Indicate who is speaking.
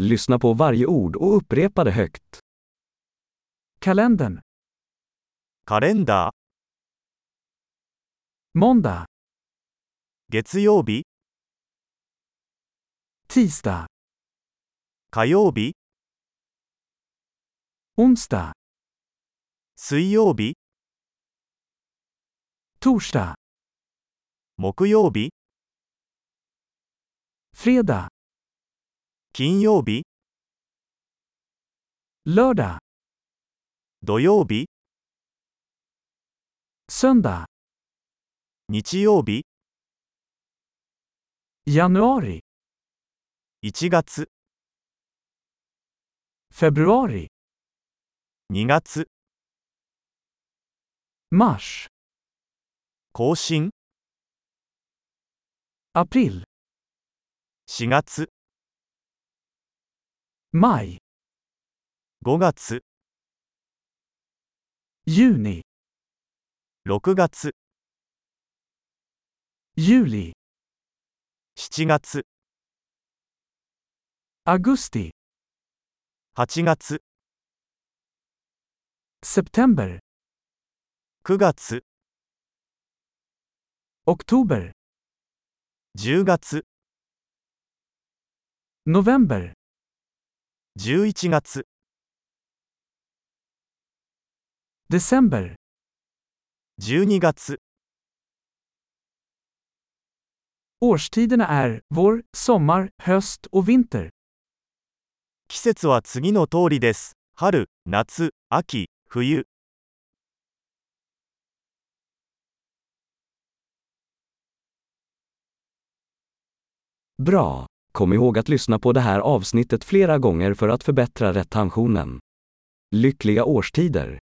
Speaker 1: Lyssna på varje ord och upprepa det högt. Kalendern.
Speaker 2: カレンダー、
Speaker 1: Måndag.
Speaker 2: 月曜日、
Speaker 1: Tisdag.
Speaker 2: 火曜日、
Speaker 1: Onsdag.
Speaker 2: 水曜日、
Speaker 1: Torsdag.
Speaker 2: 木曜日、
Speaker 1: Fredag.
Speaker 2: 金曜日、
Speaker 1: Lördag.
Speaker 2: 土曜日、
Speaker 1: Söndag.
Speaker 2: 日曜日、
Speaker 1: Januari.
Speaker 2: 1月、
Speaker 1: Februari.
Speaker 2: 2月、
Speaker 1: Mars.
Speaker 2: 更新、
Speaker 1: April.
Speaker 2: 4月、
Speaker 1: Maj.
Speaker 2: 5月、
Speaker 1: Juni.
Speaker 2: 6月、
Speaker 1: Juli.
Speaker 2: 7月、
Speaker 1: Augusti.
Speaker 2: 8月、
Speaker 1: September.
Speaker 2: 9月、
Speaker 1: Oktober.
Speaker 2: 10月、
Speaker 1: November.
Speaker 2: 11月、
Speaker 1: December.
Speaker 2: 12月、
Speaker 1: Årstiderna är vår, sommar, höst och vinter.
Speaker 2: 季節は次の通りです。春、夏、秋、冬。
Speaker 1: Bra! Kom ihåg att lyssna på det här avsnittet flera gånger för att förbättra retentionen. Lyckliga årstider!